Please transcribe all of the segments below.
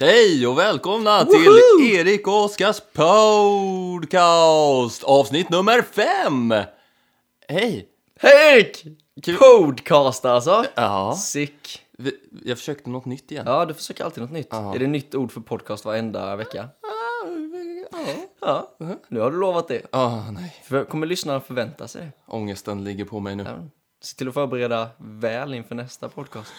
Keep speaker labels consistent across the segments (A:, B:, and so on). A: Hej och välkomna
B: Woho!
A: till Erik och Oskars podcast! Avsnitt nummer fem! Hej!
B: Hej
A: Kul.
B: Erik! Podcast alltså!
A: Ja,
B: Sick!
A: vi, jag försökte något nytt igen.
B: Ja, du försöker alltid något nytt.
A: Ja.
B: Är det nytt ord för podcast varenda vecka?
A: Ja.
B: Ja, nu har du lovat det.
A: Ah, nej.
B: För kommer lyssnarna förvänta sig det?
A: Ångesten ligger på mig nu.
B: Ja. Se till att förbereda väl inför nästa podcast.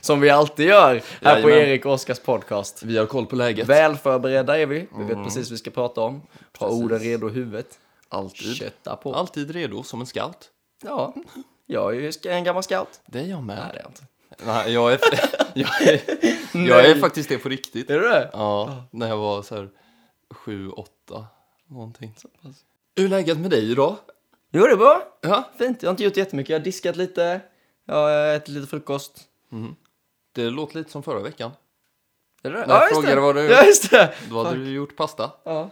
B: Som vi alltid gör här på
A: Jajamän.
B: Erik och Oskars podcast.
A: Vi har koll på läget.
B: Väl förberedda är vi. Vi vet precis vad vi ska prata om. Har
A: Mm. Precis.
B: orden redo i huvudet.
A: Alltid.
B: Kötta på.
A: Alltid redo som en scout.
B: Ja, jag är ju en gammal scout.
A: Det är jag med.
B: Nej, det är jag inte.
A: Nej, jag är, jag är, jag är
B: Nej.
A: faktiskt det på riktigt.
B: Är du det?
A: Ja, när jag var så här sju, åtta, någonting. Hur är läget med dig idag?
B: Jo, det är bra.
A: Ja,
B: Fint, jag har inte gjort jättemycket. Jag har diskat lite, jag har eh, ätit lite frukost.
A: det låter lite som förra veckan.
B: Är det det?
A: jag
B: Ja, just
A: frågade
B: det.
A: vad du-
B: Ja, just det.
A: Då hade du gjort pasta.
B: Ja.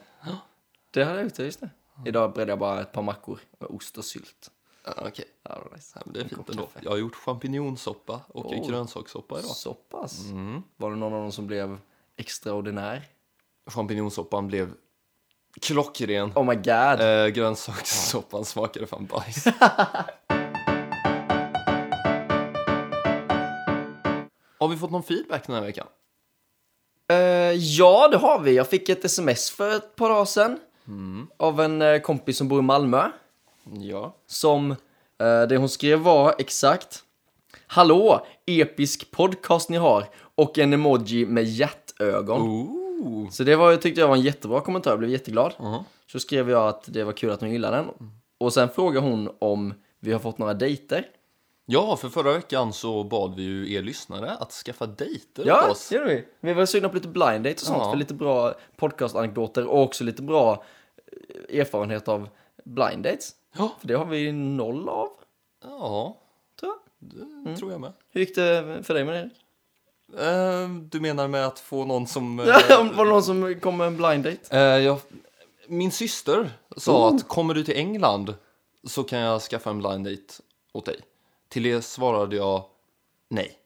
B: Det hade jag gjort, ja, just det. Idag bredde jag bara ett par mackor med ost och sylt.
A: Ja, Okej,
B: Ja, det var nice.
A: Ja, men det är
B: En
A: fint
B: kopp
A: ändå.
B: kaffe.
A: Jag har gjort champinjonsoppa och
B: Oh.
A: grönsakssoppa idag. Mm.
B: Så pass. Var det någon av dem som blev extraordinär?
A: Champinjonsoppan blev klockren.
B: Oh my god.
A: Eh, grönsakssoppan smakade fan bajs. har vi fått någon feedback den här veckan?
B: Eh, ja, det har vi. Jag fick ett sms för ett par dagar sedan
A: Mm.
B: av en eh, kompis som bor i Malmö.
A: Ja.
B: som eh, det hon skrev var exakt Hallå, episk podcast ni har och en emoji med hjärtögon.
A: Oh. Ooh.
B: Så det var, jag tyckte jag var en jättebra kommentar, jag blev jätteglad.
A: Mhm.
B: Så skrev jag att det var kul att hon gillade den.
A: Mm.
B: Och sen frågade hon om vi har fått några dejter.
A: Ja, för förra veckan så bad vi ju er lyssnare att skaffa dejter åt
B: Ja,
A: oss.
B: det gjorde vi. Vi var sugna på lite blind date och sånt,
A: Ja.
B: för lite bra podcastanekdoter och också lite bra eh, erfarenhet av blind dates.
A: Ja,
B: För det har vi noll av,
A: ja
B: tror jag.
A: det tror jag Mm. med.
B: Hur gick det för dig med det?
A: Eh, du menar med att få någon som... eh,
B: Ja, var det någon som kom med en blind date?
A: Eh, jag, min syster sa att kommer du till England så kan jag skaffa en blind date åt dig. Till det svarade jag nej.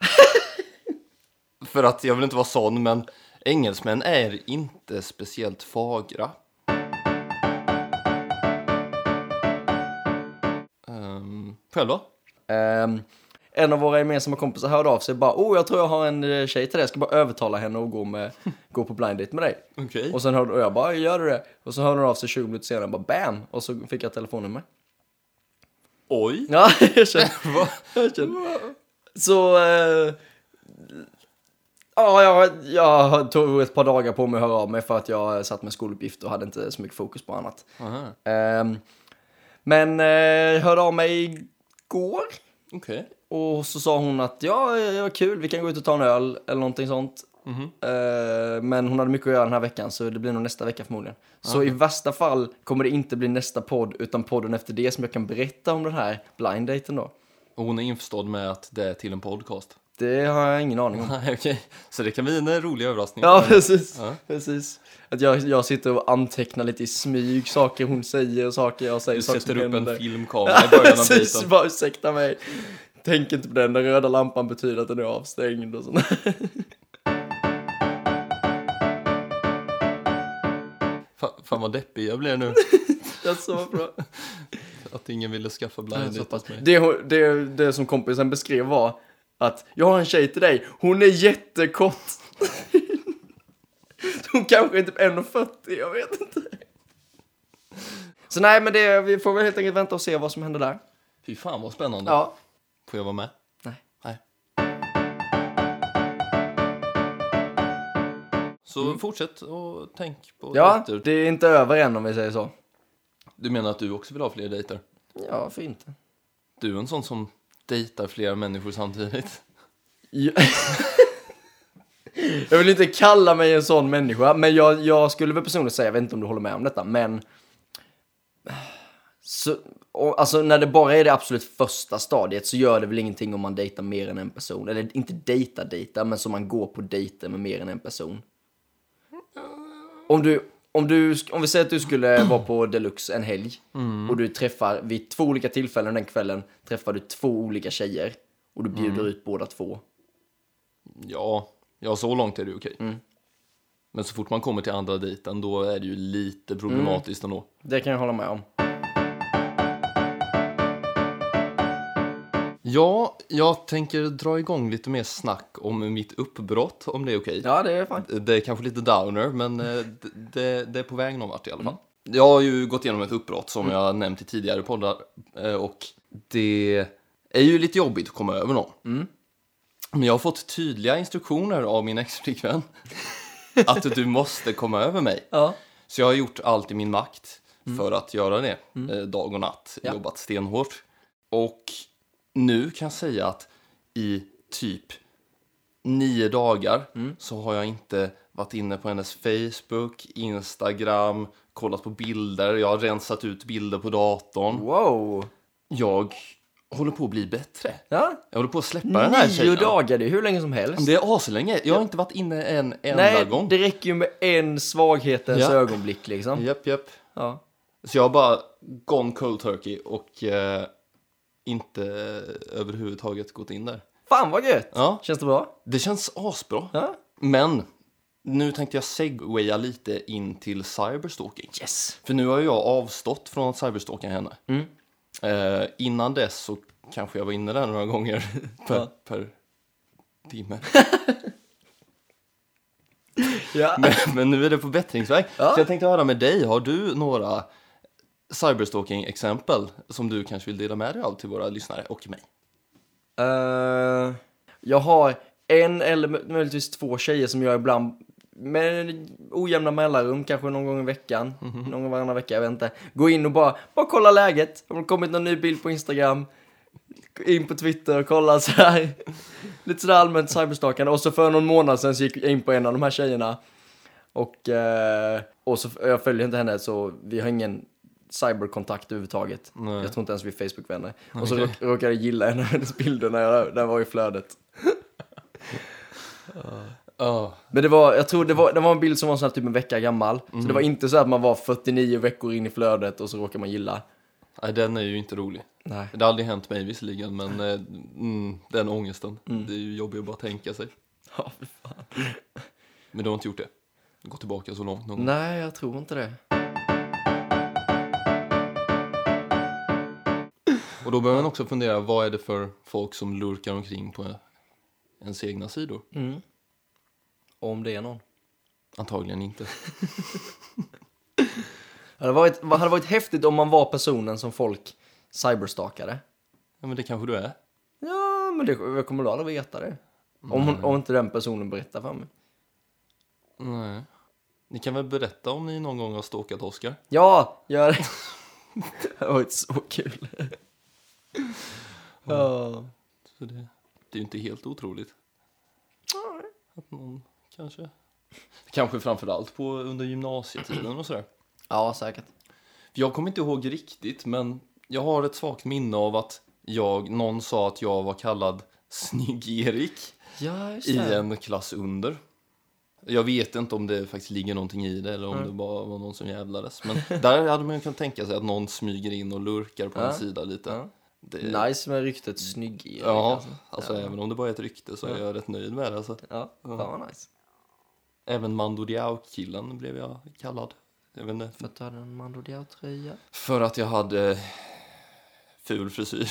A: För att jag vill inte vara sån, men engelsmän är inte speciellt fagra. Um, själv då?
B: Ehm, en av våra gemensamma kompisar hörde av sig bara oh jag tror jag har en eh, tjej till dig, jag ska bara övertala henne och gå, med, gå på blind date med dig.
A: Okej.
B: Och sen hörde och jag bara gör du det? Och så hörde hon av sig 20 minuter senare bara bam och så fick jag telefonnummer.
A: Oj!
B: Ja, jag känner.
A: Va?
B: Jag känner. Så eh, ja, jag, jag tog ett par dagar på mig att höra av mig för att jag satt med skoluppgifter och hade inte så mycket fokus på annat.
A: Aha,
B: Ehm, men eh, jag hörde av mig igår.
A: Okej.
B: Och så sa hon att ja, ja, ja, kul, vi kan gå ut och ta en öl eller någonting sånt.
A: Mhm.
B: Eh, men hon hade mycket att göra den här veckan så det blir nog nästa vecka förmodligen. Så i värsta fall kommer det inte bli nästa podd utan podden efter det som jag kan berätta om den här blind daten då.
A: Och hon är införstådd med att det är till en podcast?
B: Det har jag ingen aning om.
A: Nej, okej. Så det kan bli en rolig överraskning.
B: Ja, precis.
A: Ja.
B: precis. Att jag, jag sitter och antecknar lite i smyg saker hon säger och saker jag säger.
A: Du
B: saker
A: sätter
B: som
A: upp en
B: händer.
A: filmkamera i början av
B: Precis,
A: dejten.
B: bara ursäkta mig. Tänk inte på den, den röda lampan betyder att den är avstängd och sånt.
A: Fan, fan vad deppig jag blir nu.
B: Det är så bra.
A: Att ingen ville skaffa
B: Nej,
A: blind
B: så
A: date
B: pass.
A: åt mig.
B: Det, hon- det, det som kompisen beskrev var att jag har en tjej till dig, hon är jättekort. hon kanske är typ 1,40, jag vet inte. Så nej, men det, vi får väl helt enkelt vänta och se vad som händer där.
A: Fy fan vad spännande.
B: Ja.
A: Får jag vara med?
B: Nej.
A: Nej. Så fortsätt och tänk på
B: Mm. ja,
A: dejter.
B: det är inte över än om vi säger så.
A: Du menar att du också vill ha fler dejter?
B: Ja, varför inte?
A: Du är en sån som dejtar flera människor samtidigt.
B: Ja. jag vill inte kalla mig en sån människa, men jag, jag skulle väl personligen säga, jag vet inte om du håller med om detta, men... Så, och, alltså när det bara är det absolut första stadiet så gör det väl ingenting om man dejtar mer än en person. Eller inte dejta dejta, men som man går på dejter med mer än en person. Om du, om du, sk- om vi säger att du skulle vara på Deluxe en helg och du träffar vid två olika tillfällen den kvällen träffar du två olika tjejer och du bjuder ut båda två. Mm.
A: Ja, ja så långt är det okej. Men så fort man kommer till andra dejten då är det ju
B: Mm.
A: lite problematiskt ändå.
B: Det kan jag hålla med om.
A: Ja, jag tänker dra igång lite mer snack om mitt uppbrott, om det är okej.
B: Ja, det är fint.
A: Det är kanske lite downer, men eh, d- det, det är på väg någon vart i alla fall. Jag har ju gått igenom ett uppbrott som jag nämnt i tidigare poddar eh, och det är ju lite jobbigt att komma över någon. Men jag har fått tydliga instruktioner av min ex-flickvän att du måste komma över mig.
B: Ja.
A: Så jag har gjort allt i min makt för att göra det, eh, dag och natt.
B: Mm. Ja.
A: Jobbat stenhårt. Och nu kan jag säga att i typ nio dagar
B: Mm.
A: så har jag inte varit inne på hennes Facebook, Instagram, kollat på bilder. Jag har rensat ut bilder på datorn.
B: Wow.
A: Jag håller på att bli bättre.
B: Ja.
A: Jag håller på att släppa den här
B: Nio
A: tjejen.
B: dagar, det är hur länge som helst.
A: Det är aslänge. Jag har inte varit inne en enda
B: Nej,
A: gång.
B: det räcker ju med en svaghetens
A: Ja.
B: ögonblick liksom.
A: Japp, japp.
B: Ja.
A: Så jag har bara gone cold turkey och eh, inte överhuvudtaget gått in där.
B: Fan vad gött!
A: Ja.
B: Känns det bra?
A: Det känns asbra.
B: Ja.
A: Men nu tänkte jag segwaya lite in till cyberstalking.
B: Yes!
A: För nu har jag avstått från att cyberstalka henne.
B: Mm.
A: Eh, innan dess så kanske jag var inne där några gånger per,
B: Ja.
A: per timme.
B: Ja.
A: Men, men nu är det på bättringsväg.
B: Ja.
A: Så jag tänkte höra med dig, har du några cyberstalking-exempel som du kanske vill dela med dig av till våra lyssnare och mig?
B: Eh, jag har en eller mö- möjligtvis två tjejer som jag ibland med ojämna mellanrum, kanske någon gång i veckan, någon gång varannan vecka, jag vet inte. Gå in och bara, bara kolla läget. Har det kommit någon ny bild på Instagram? In på Twitter och kolla så här. Lite sådär allmänt cyberstalkande. Och så för någon månad sedan så gick jag in på en av de här tjejerna. Och, eh, och så, jag följer inte henne så vi har ingen cyberkontakt överhuvudtaget.
A: Nej.
B: Jag tror inte ens vi är Facebook-vänner. Och så råk, råkade jag gilla en av hennes bilder när jag, när jag var i flödet.
A: Ja,
B: Men det var, jag tror det var, det var en bild som var så här typ en vecka gammal. Så det var inte så att man var 49 veckor in i flödet och så råkar man gilla.
A: nej, den är ju inte rolig.
B: Nej.
A: Det har aldrig hänt mig visserligen, men eh, mm, den ångesten. Det är ju jobbigt att bara tänka sig.
B: Ja, fy fan.
A: Men du har inte gjort det? Gå tillbaka så långt någon gång.
B: Nej, jag tror inte det.
A: Och då behöver man också fundera, vad är det för folk som lurkar omkring på ens egna sidor?
B: Mm. Om det är någon.
A: Antagligen inte.
B: Det hade varit, det hade varit häftigt om man var personen som folk cyberstalkade.
A: Ja, men det kanske du är.
B: Ja, men det jag kommer du aldrig veta det. Om, hon, om inte den personen berättar för mig.
A: Nej. Ni kan väl berätta om ni någon gång har stalkat Oscar?
B: Ja, gör det. det var inte så kul. Ja.
A: Så det, det är ju inte helt otroligt. Att någon kanske... Kanske framförallt på, under gymnasietiden och sådär.
B: ja, säkert.
A: Jag kommer inte ihåg riktigt, men jag har ett svagt minne av att jag, någon sa att jag var kallad Snygg-Erik
B: Ja, just
A: i
B: det.
A: en klass under. Jag vet inte om det faktiskt ligger någonting i det eller om det bara var någon som jävlades. Men där hade man ju kunnat tänka sig att någon smyger in och lurkar på
B: Ja.
A: en sida lite.
B: Ja.
A: Det,
B: Nice med ryktet snygg-Erik.
A: Ja,
B: alltså.
A: alltså även om det bara är ett rykte så är jag rätt nöjd med det. Så.
B: ja. Fan vad nice.
A: Även Mando Diao-killen blev jag kallad. Jag vet inte,
B: För att du hade en Mando Diao-tröja.
A: För att jag hade eh, ful frisyr.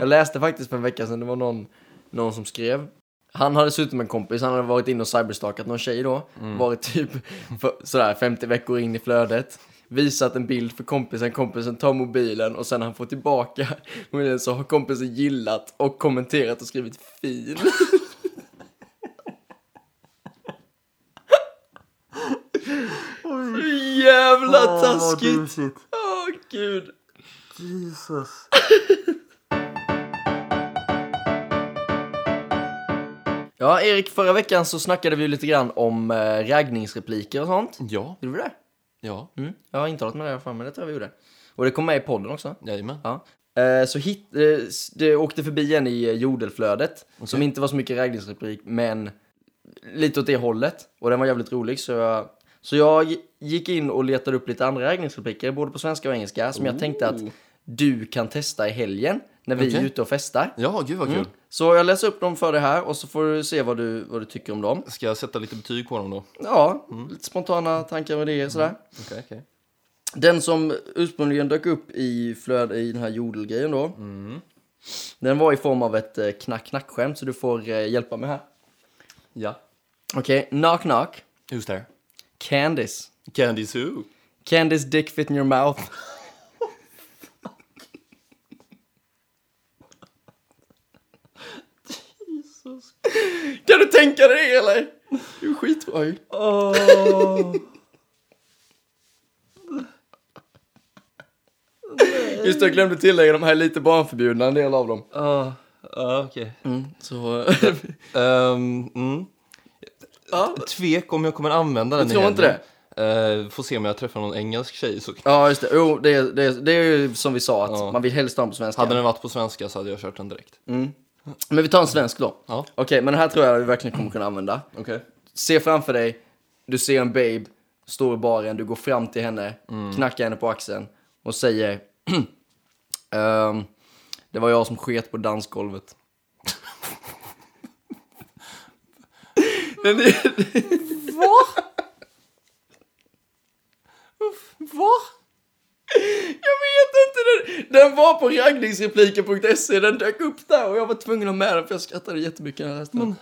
B: Jag läste faktiskt för en vecka sedan, det var någon, någon som skrev. Han hade suttit med en kompis, han hade varit inne och cyberstalkat någon tjej då. Varit typ för, sådär 50 veckor in i flödet. Visat en bild för kompisen, kompisen tar mobilen och sen när han får tillbaka mobilen så har kompisen gillat och kommenterat och skrivit fin. Så jävla taskigt! Åh gud!
A: Jesus.
B: Ja, Erik, förra veckan så snackade vi ju lite grann om eh, raggningsrepliker och sånt.
A: Ja,
B: Gjorde vi det?
A: ja,
B: Mm. Jag har inte hållit med det här för mig, det tror jag vi gjorde. Och det kom med i podden också.
A: jajamän.
B: Ja. Eh, så hit, eh, s- det åkte förbi en i eh, jordelflödet, som inte var så mycket raggningsreplik, men lite åt det hållet. Och den var jävligt rolig, så jag, så jag gick in och letade upp lite andra raggningsrepliker, både på svenska och engelska, som jag tänkte att
A: Ooh.
B: du kan testa i helgen. när vi är
A: Okej.
B: ute och festar.
A: Ja, gud vad kul.
B: Så jag läser upp dem för dig här och så får du se vad du, vad du tycker om dem.
A: Ska jag sätta lite betyg på dem då? Okej,
B: Ja, lite spontana tankar och idéer sådär.
A: okej.
B: Den som ursprungligen dök upp i flöd i den här jodelgrejen då.
A: Mm.
B: Den var i form av ett eh, knack-knack-skämt så du får eh, hjälpa mig här.
A: Ja.
B: Okej, knock knock.
A: Who's there?
B: Candice.
A: Candy Sue.
B: Candice dick fit in your mouth. Kan du tänka dig det, eller? Det är skitbra ju. Just det, jag glömde tillägga, de här är lite barnförbjudna, en del av dem.
A: Ja, ja, Ah, okej.
B: Så... eh,
A: Ehm, mm.
B: ja.
A: Tvek om Ah. jag kommer använda den i
B: tror inte
A: helgen. Eh, får se om jag träffar någon engelsk tjej. Så...
B: ja, just det. Jo, det, är- det, är- det är ju som vi sa, att
A: Ja. Mm.
B: man vill helst ha dem på svenska.
A: Hade den varit på svenska så hade jag kört den direkt.
B: Men vi tar en svensk då.
A: Ja.
B: Okej, men den här tror jag vi verkligen kommer kunna använda.
A: Okej.
B: Se framför dig, du ser en babe, står i baren, du går fram till henne, knackar henne på axeln och säger ehm, Det var jag som sket på dansgolvet. Den är-
A: Va? Va?
B: jag vet inte, den, den var på raggningsrepliken.se, E, den dök upp där och jag var tvungen att ha med den för jag skrattade jättemycket när jag läste den.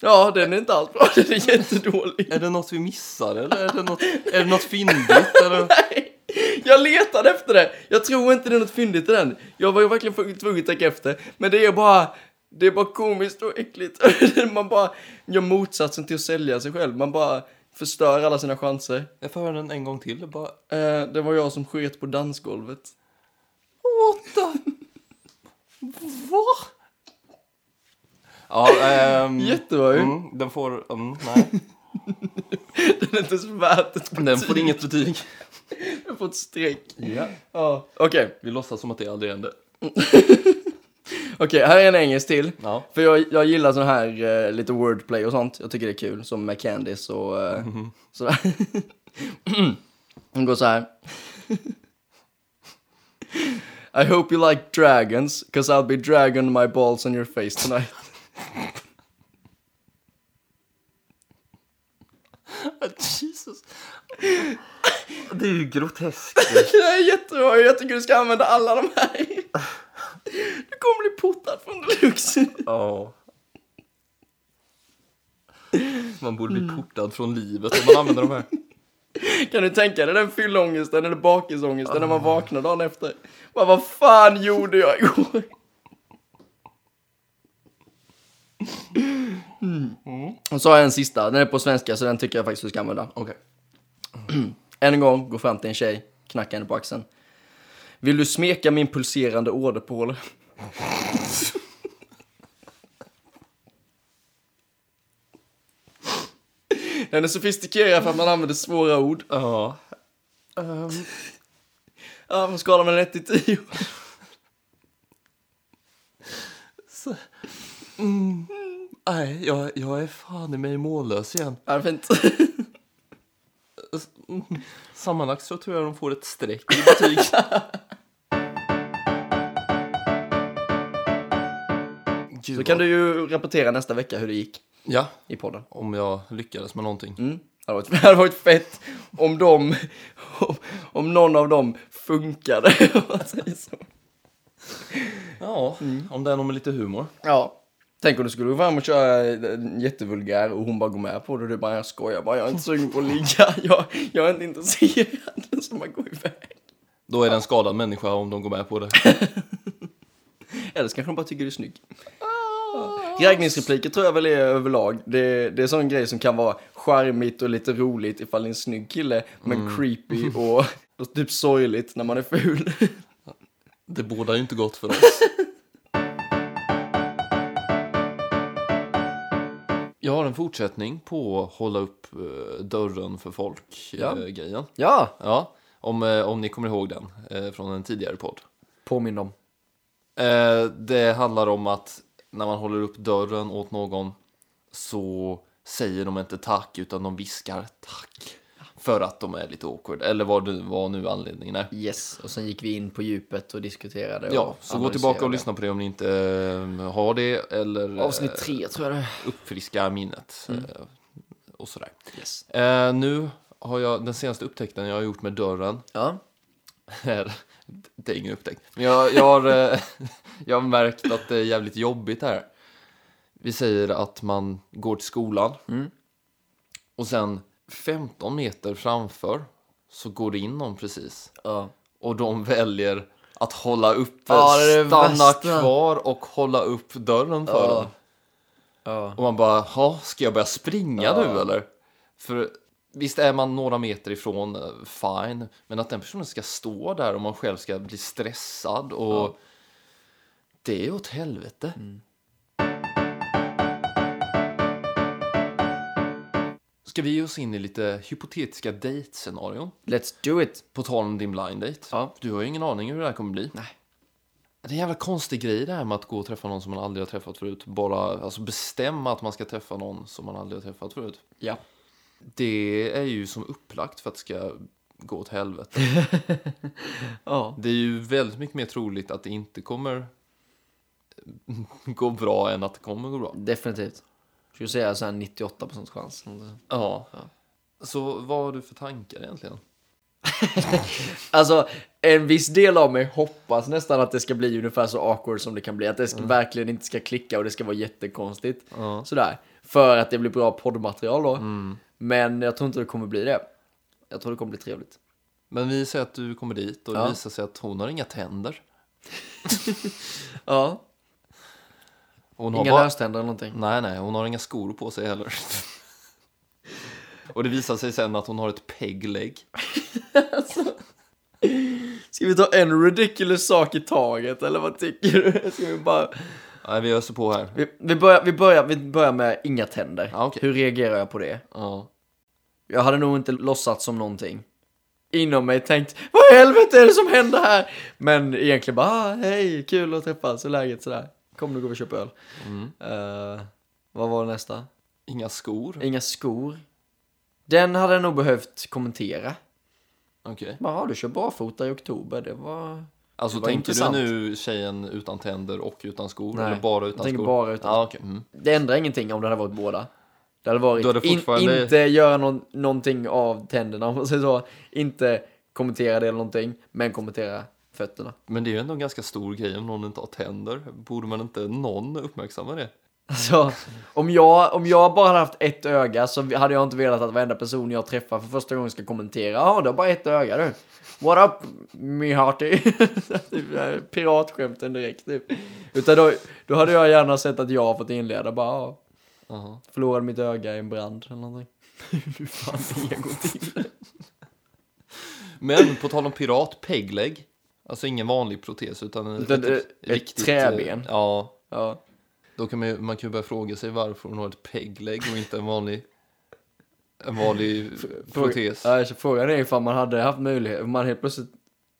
B: Ja, den är inte alls bra, den är jättedålig.
A: Är det något vi missar eller är det något, är det något fyndigt? Eller?
B: Nej, jag letade efter det. Jag tror inte det är något fyndigt i den. Jag var ju verkligen tvungen- tvungen att tänka efter. Men det är bara, det är bara komiskt och äckligt. Man bara gör motsatsen till att sälja sig själv. Man bara förstör alla sina chanser.
A: Jag får höra den en gång till. Bara...
B: Eh, det var jag som sket på dansgolvet.
A: What the... Va? Ja, ehm...
B: Jättebra ju.
A: Mm, den får... Mm, nej.
B: Den är inte ens värt ett
A: Den får inget betyg.
B: Den får ett streck.
A: Ja.
B: Ja, okej.
A: Vi låtsas som att det aldrig hände.
B: Okej, här är en engelsk till.
A: Ja.
B: För jag, jag gillar sån här eh, lite wordplay och sånt. Jag tycker det är kul. Som med Candice och eh, sådär. Hon går så här. I hope you like dragons, cause I'll be dragging my balls on your face tonight.
A: Jesus. Det är ju groteskt.
B: det här är jättebra, jag tycker du ska använda alla de här. Du kommer bli portad från deluxe.
A: Ja. Man borde bli portad från livet om man använder de här.
B: Kan du tänka dig den fyllångesten eller bakisångesten när man vaknar dagen efter? Bara, vad fan gjorde jag igår? Mm. Och så har jag en sista, den är på svenska så den tycker jag faktiskt du ska använda.
A: Okej.
B: Än en gång, gå fram till en tjej, knacka henne på axeln. Vill du smeka min pulserande åderpåle? Den är sofistikerad för att man använder svåra ord.
A: Ja. Ehm,
B: Ja, man skalar mellan 1 till 10.
A: Nej, jag, jag är fan i mig mållös igen.
B: Ja, det är fint.
A: Sammanlagt så tror jag de får ett streck i betyg. Gud,
B: Då kan du ju rapportera nästa vecka hur det gick
A: Ja,
B: i podden.
A: om jag lyckades med någonting.
B: Mm. Det hade varit- Det hade varit fett om de, om, om någon av dem funkade. om man säger så.
A: Ja, om det är någon med lite humor.
B: Ja. Tänk om du skulle gå fram och köra eh, en jättevulgär och hon bara går med på det och du bara jag skojar bara, jag är inte sugen på att ligga, jag, jag är inte intresserad. Så man går iväg.
A: Då är det en skadad människa om de går med på det.
B: Eller så kanske de bara tycker du är snygg. Ah. Raggningsrepliker tror jag väl är överlag. Det, det är sån grej som kan vara charmigt och lite roligt ifall det är en snygg kille. Men creepy och, och typ sorgligt när man är ful.
A: Det bådar ju inte gott för oss. Jag har en fortsättning på hålla upp eh, dörren för
B: Ja.
A: folk-grejen. Ja.
B: Ja,
A: om, eh, om ni kommer ihåg den eh, från en tidigare podd.
B: påminn om.
A: Eh, det handlar om att när man håller upp dörren åt någon så säger de inte tack utan de viskar tack. För att de är lite awkward, eller vad, du, vad nu anledningen är.
B: Yes, och sen gick vi in på djupet och diskuterade. och
A: Ja, så gå
B: analyserade.
A: tillbaka och lyssna på det om ni inte eh, har det, eller eh,
B: Avsnitt tre tror jag det är.
A: uppfriska minnet. eh, Och sådär.
B: Yes.
A: Eh, nu har jag den senaste upptäckten jag har gjort med dörren.
B: Ja.
A: Här, det är ingen upptäckt. Men jag, jag, har, eh, jag har märkt att det är jävligt jobbigt här. Vi säger att man går till skolan.
B: Mm.
A: Och sen 15 meter framför så går det in någon precis.
B: ja.
A: Och de väljer att hålla uppe,
B: Ja, det är det
A: stanna
B: värsta.
A: kvar och hålla upp dörren för
B: Ja.
A: dem. Och man bara, ha, ska jag börja springa
B: Ja.
A: nu eller? För visst är man några meter ifrån, eh, fine. Men att den personen ska stå där och man själv ska bli stressad och... Det är åt helvete. Ska vi ge oss in i lite hypotetiska dejtscenarion?
B: Let's do it.
A: På tal om din blind date.
B: Ja.
A: Du har ju ingen aning hur det här kommer bli.
B: Nej.
A: Det är en jävla konstig grej det här med att gå och träffa någon som man aldrig har träffat förut. Bara alltså bestämma att man ska träffa någon som man aldrig har träffat förut.
B: Ja.
A: Det är ju som upplagt för att det ska gå åt helvete.
B: Ja.
A: Det är ju väldigt mycket mer troligt att det inte kommer gå bra än att det kommer gå bra.
B: Definitivt. Skulle säga så här 98% chans.
A: Ja. Så vad har du för tankar egentligen?
B: Alltså, en viss del av mig hoppas nästan att det ska bli ungefär så awkward som det kan bli. Att det ska, verkligen inte ska klicka och det ska vara jättekonstigt.
A: Ja.
B: Sådär. För att det blir bra poddmaterial då. Men jag tror inte det kommer bli det. Jag tror det kommer bli trevligt.
A: Men vi säger att du kommer dit och det
B: Ja.
A: visar sig att hon har inga tänder.
B: Ja.
A: Och Hon har
B: Inga
A: bara...
B: löständer eller någonting.
A: Nej, nej, hon har inga skor på sig heller. Och det visar sig sen att hon har ett peg-leg.
B: Ska vi ta en ridiculous sak i taget eller vad tycker du? Ska vi bara...
A: Nej, vi öser på här.
B: Vi, vi, börjar, vi, börjar, vi börjar med inga tänder.
A: Ja, okej.
B: Hur reagerar jag på det?
A: Ja.
B: Jag hade nog inte låtsats som någonting. Inom mig tänkt, vad i helvete är det som händer här? Men egentligen bara, ah, hej, kul att träffas, hur är läget sådär? Kom nu går vi och köper öl.
A: Mm.
B: Eh, vad var nästa?
A: Inga skor.
B: Inga skor. Den hade jag nog behövt kommentera.
A: Okej.
B: Bara, "Ah, du kör barfota i oktober, det var...
A: Alltså,
B: Det var
A: tänker
B: intressant.
A: du nu tjejen utan tänder och utan skor?
B: Nej.
A: Eller bara utan
B: Jag tänker
A: skor?
B: bara utan
A: ja, okej. mm.
B: Det ändrar ingenting om det hade varit båda. Det hade varit
A: Då hade
B: in,
A: fortfarande-
B: inte göra någon, någonting av tänderna om man säger så. Inte kommentera det eller någonting, men kommentera fötterna.
A: Men det är ju ändå en ganska stor grej om någon inte har tänder. Borde man inte någon uppmärksamma det?
B: Alltså, om jag, om jag bara hade haft ett öga så hade jag inte velat att varenda person jag träffar för första gången ska kommentera. Ja, du har bara ett öga du. What up, me hearty? Typ, eh, Piratskämten direkt typ. Utan då, då hade jag gärna sett att jag har fått inleda bara, ja,
A: Jaha.
B: förlorade mitt öga i en brand eller någonting. Hur fan det går till?
A: Men på tal om pirat, peg-leg. Alltså ingen vanlig protes utan en-
B: Utan ett- ett träben.
A: eh, Ja.
B: Ja.
A: Då kan man ju, man kan ju börja fråga sig varför hon har ett peg-leg och inte en vanlig, en vanlig protes.
B: Ja, så frågan är ifall man hade haft möjlighet, om man helt plötsligt,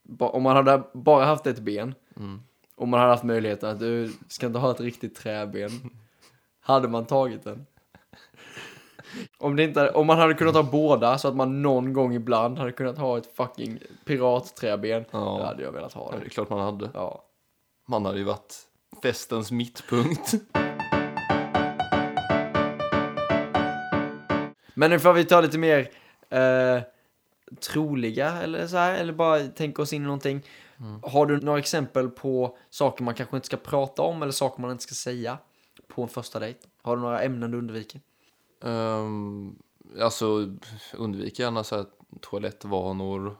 B: ba- om man hade bara haft ett ben,
A: Mm.
B: om man hade haft möjligheten att du ska inte ha ett riktigt träben, hade man tagit den? Om, det inte, om man hade kunnat ha båda så att man någon gång ibland hade kunnat ha ett fucking piratträben,
A: Ja.
B: då hade jag velat ha
A: Ja, det
B: det.
A: är klart man hade.
B: Ja.
A: Man hade ju varit festens mittpunkt.
B: Men ifall vi tar lite mer eh, troliga eller så här, eller bara tänka oss in i någonting. Har du några exempel på saker man kanske inte ska prata om eller saker man inte ska säga på en första dejt? Har du några ämnen du undviker?
A: Ehm, alltså, undvik gärna så här toalettvanor.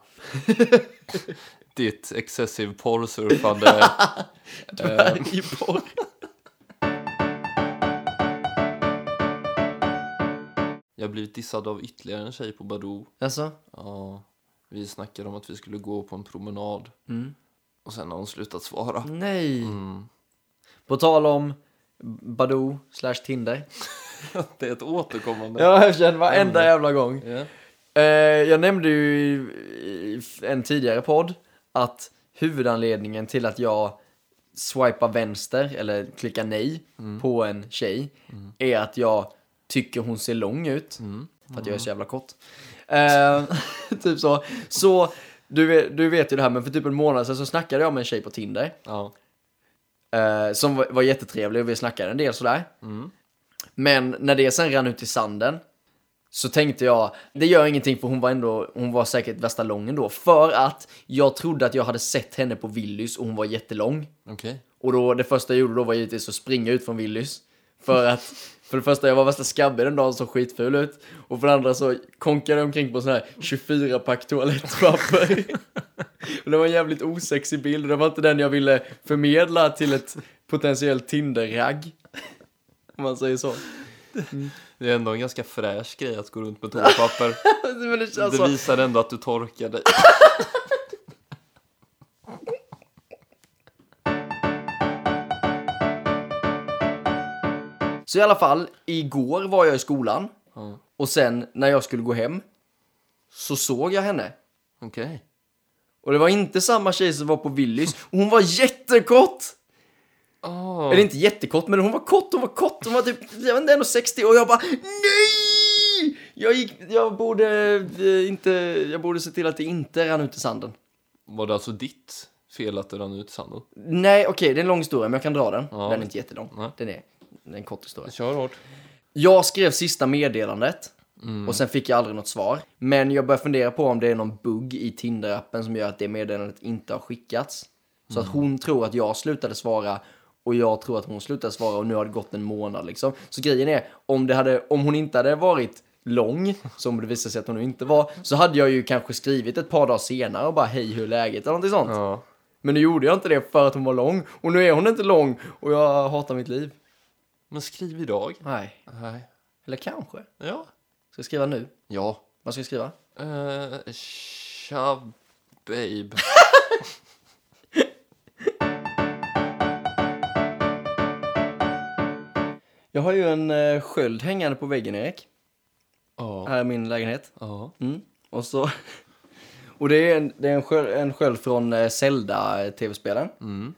A: Ditt excessive porrsurfande.
B: I porr.
A: Jag har blivit dissad av ytterligare en tjej på Badoo.
B: Alltså?
A: Ja, vi snackade om att vi skulle gå på en promenad.
B: Mm.
A: Och sen har hon slutat svara.
B: Nej.
A: Mm.
B: På tal om Badoo slash Tinder.
A: Det är ett återkommande.
B: Ja, jag känner varenda jävla gång.
A: Ja.
B: Eh, jag nämnde ju i, i en tidigare podd att huvudanledningen till att jag swipar vänster eller klickar nej på en tjej är att jag tycker hon ser lång ut. För att jag är så jävla kort. Eh, typ så. Så du, vet- du vet ju det här, men för typ en månad sedan så snackade jag med en tjej på Tinder.
A: Ja.
B: Eh, som var, var jättetrevlig och vi snackade en del sådär. Men när det sen rann ut i sanden så tänkte jag, det gör ingenting för hon var ändå, hon var säkert värsta lången då. För att jag trodde att jag hade sett henne på Willys och hon var jättelång.
A: Okej.
B: Och då, det första jag gjorde då var givetvis att springa ut från Willys. För att, för det första, jag var värsta skabbig den dagen, såg skitful ut. Och för det andra så konkade jag omkring på sån här 24-pack toalettpapper. och det var en jävligt osexig bild och det var inte den jag ville förmedla till ett potentiellt Tinder-ragg. Om man säger så.
A: Det är ändå en ganska fräsch grej att gå runt med toapapper.
B: Men det,
A: Det
B: alltså,
A: visar ändå att du torkar dig.
B: Så i alla fall, igår var jag i skolan.
A: Ja.
B: Och sen när jag skulle gå hem så såg jag henne.
A: Okej.
B: Och det var inte samma tjej som var på Willys. Och hon var jättekort!
A: Åh.
B: Eller inte jättekort, men hon var kort, hon var kort. Hon var typ, jag vet inte, 1,60 och jag bara NEJ! Jag gick, jag borde eh, inte, jag borde se till att det inte rann ut i sanden.
A: Var det alltså ditt fel att det rann ut i sanden?
B: Nej, okej, det är en lång historia, men jag kan dra den.
A: Ja.
B: Den är inte jättelång.
A: Nej.
B: Den är, den är en kort historia.
A: Kör hårt.
B: Jag skrev sista meddelandet och sen fick jag aldrig något svar. Men jag började fundera på om det är någon bugg i Tinder-appen som gör att det meddelandet inte har skickats. Så att hon tror att jag slutade svara och jag tror att hon slutade svara och nu har det gått en månad liksom. Så grejen är, om, det hade, om hon inte hade varit lång, som det visade sig att hon nu inte var, så hade jag ju kanske skrivit ett par dagar senare och bara hej hur är läget eller någonting sånt.
A: Ja.
B: Men nu gjorde jag inte det för att hon var lång och nu är hon inte lång och jag hatar mitt liv.
A: Men skriv idag.
B: Nej,
A: Nej.
B: eller kanske. Ska
A: Ja.
B: jag skriva nu?
A: Ja.
B: Vad ska jag skriva?
A: Uh, tja, babe.
B: Jag har ju en eh, sköld hängande på väggen, Erik.
A: Ja.
B: Här är min lägenhet.
A: Ja.
B: Mm. Och så... Och det är en, det är en, sköld, en sköld från eh, Zelda-tv-spelen.
A: Mm.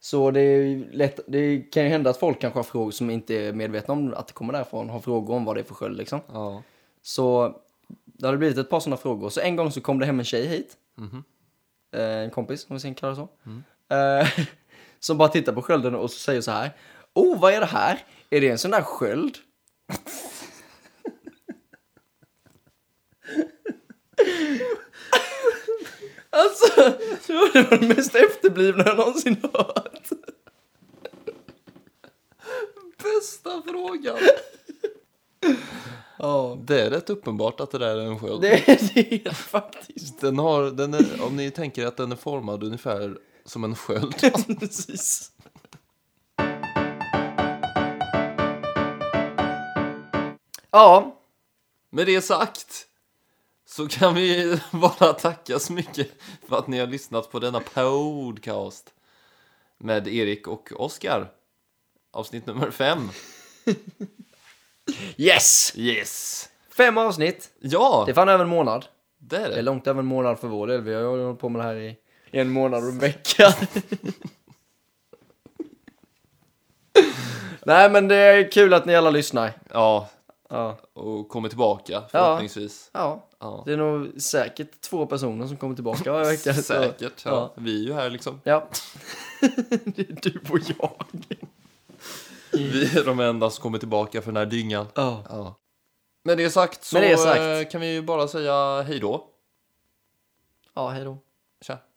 B: Så det, är ju lätt, det kan ju hända att folk kanske har frågor som inte är medvetna om att det kommer därifrån. Har frågor om vad det är för sköld liksom.
A: Ja.
B: Så det hade blivit ett par sådana frågor. Så en gång så kom det hem en tjej hit. Eh, En kompis, om vi sen kallar det så. Eh, Som bara tittar på skölden och så säger så här. Oh, vad är det här? Är det en sån där sköld? alltså, det var det var det mest efterblivna jag någonsin hört.
A: Bästa frågan.
B: Ja,
A: Det är rätt uppenbart att det där är en sköld.
B: det är det är faktiskt.
A: Den har, den är, om ni tänker att den är formad ungefär som en sköld.
B: Precis. Ja,
A: Med det sagt så kan vi bara tacka så mycket för att ni har lyssnat på denna podcast med Erik och Oskar. Avsnitt nummer fem.
B: yes!
A: Yes!
B: Fem avsnitt.
A: Ja,
B: Det är fan över en månad.
A: det är
B: Det är
A: det.
B: långt över en månad för vår del. Vi har ju hållit på med det här i en månad och en vecka. Nej, men det är kul att ni alla lyssnar.
A: Ja,
B: Ja.
A: och kommer tillbaka förhoppningsvis.
B: ja.
A: Ja.
B: Det är nog säkert två personer som kommer tillbaka varje vecka. så-
A: Säkert. Ja. Vi är ju här liksom.
B: Ja. det är du och jag.
A: Vi är de enda som kommer tillbaka för den här dyngan.
B: Ja.
A: Ja. Med det sagt så
B: Med det sagt.
A: eh, kan vi ju bara säga hej då.
B: Ja, hej då.
A: Tja.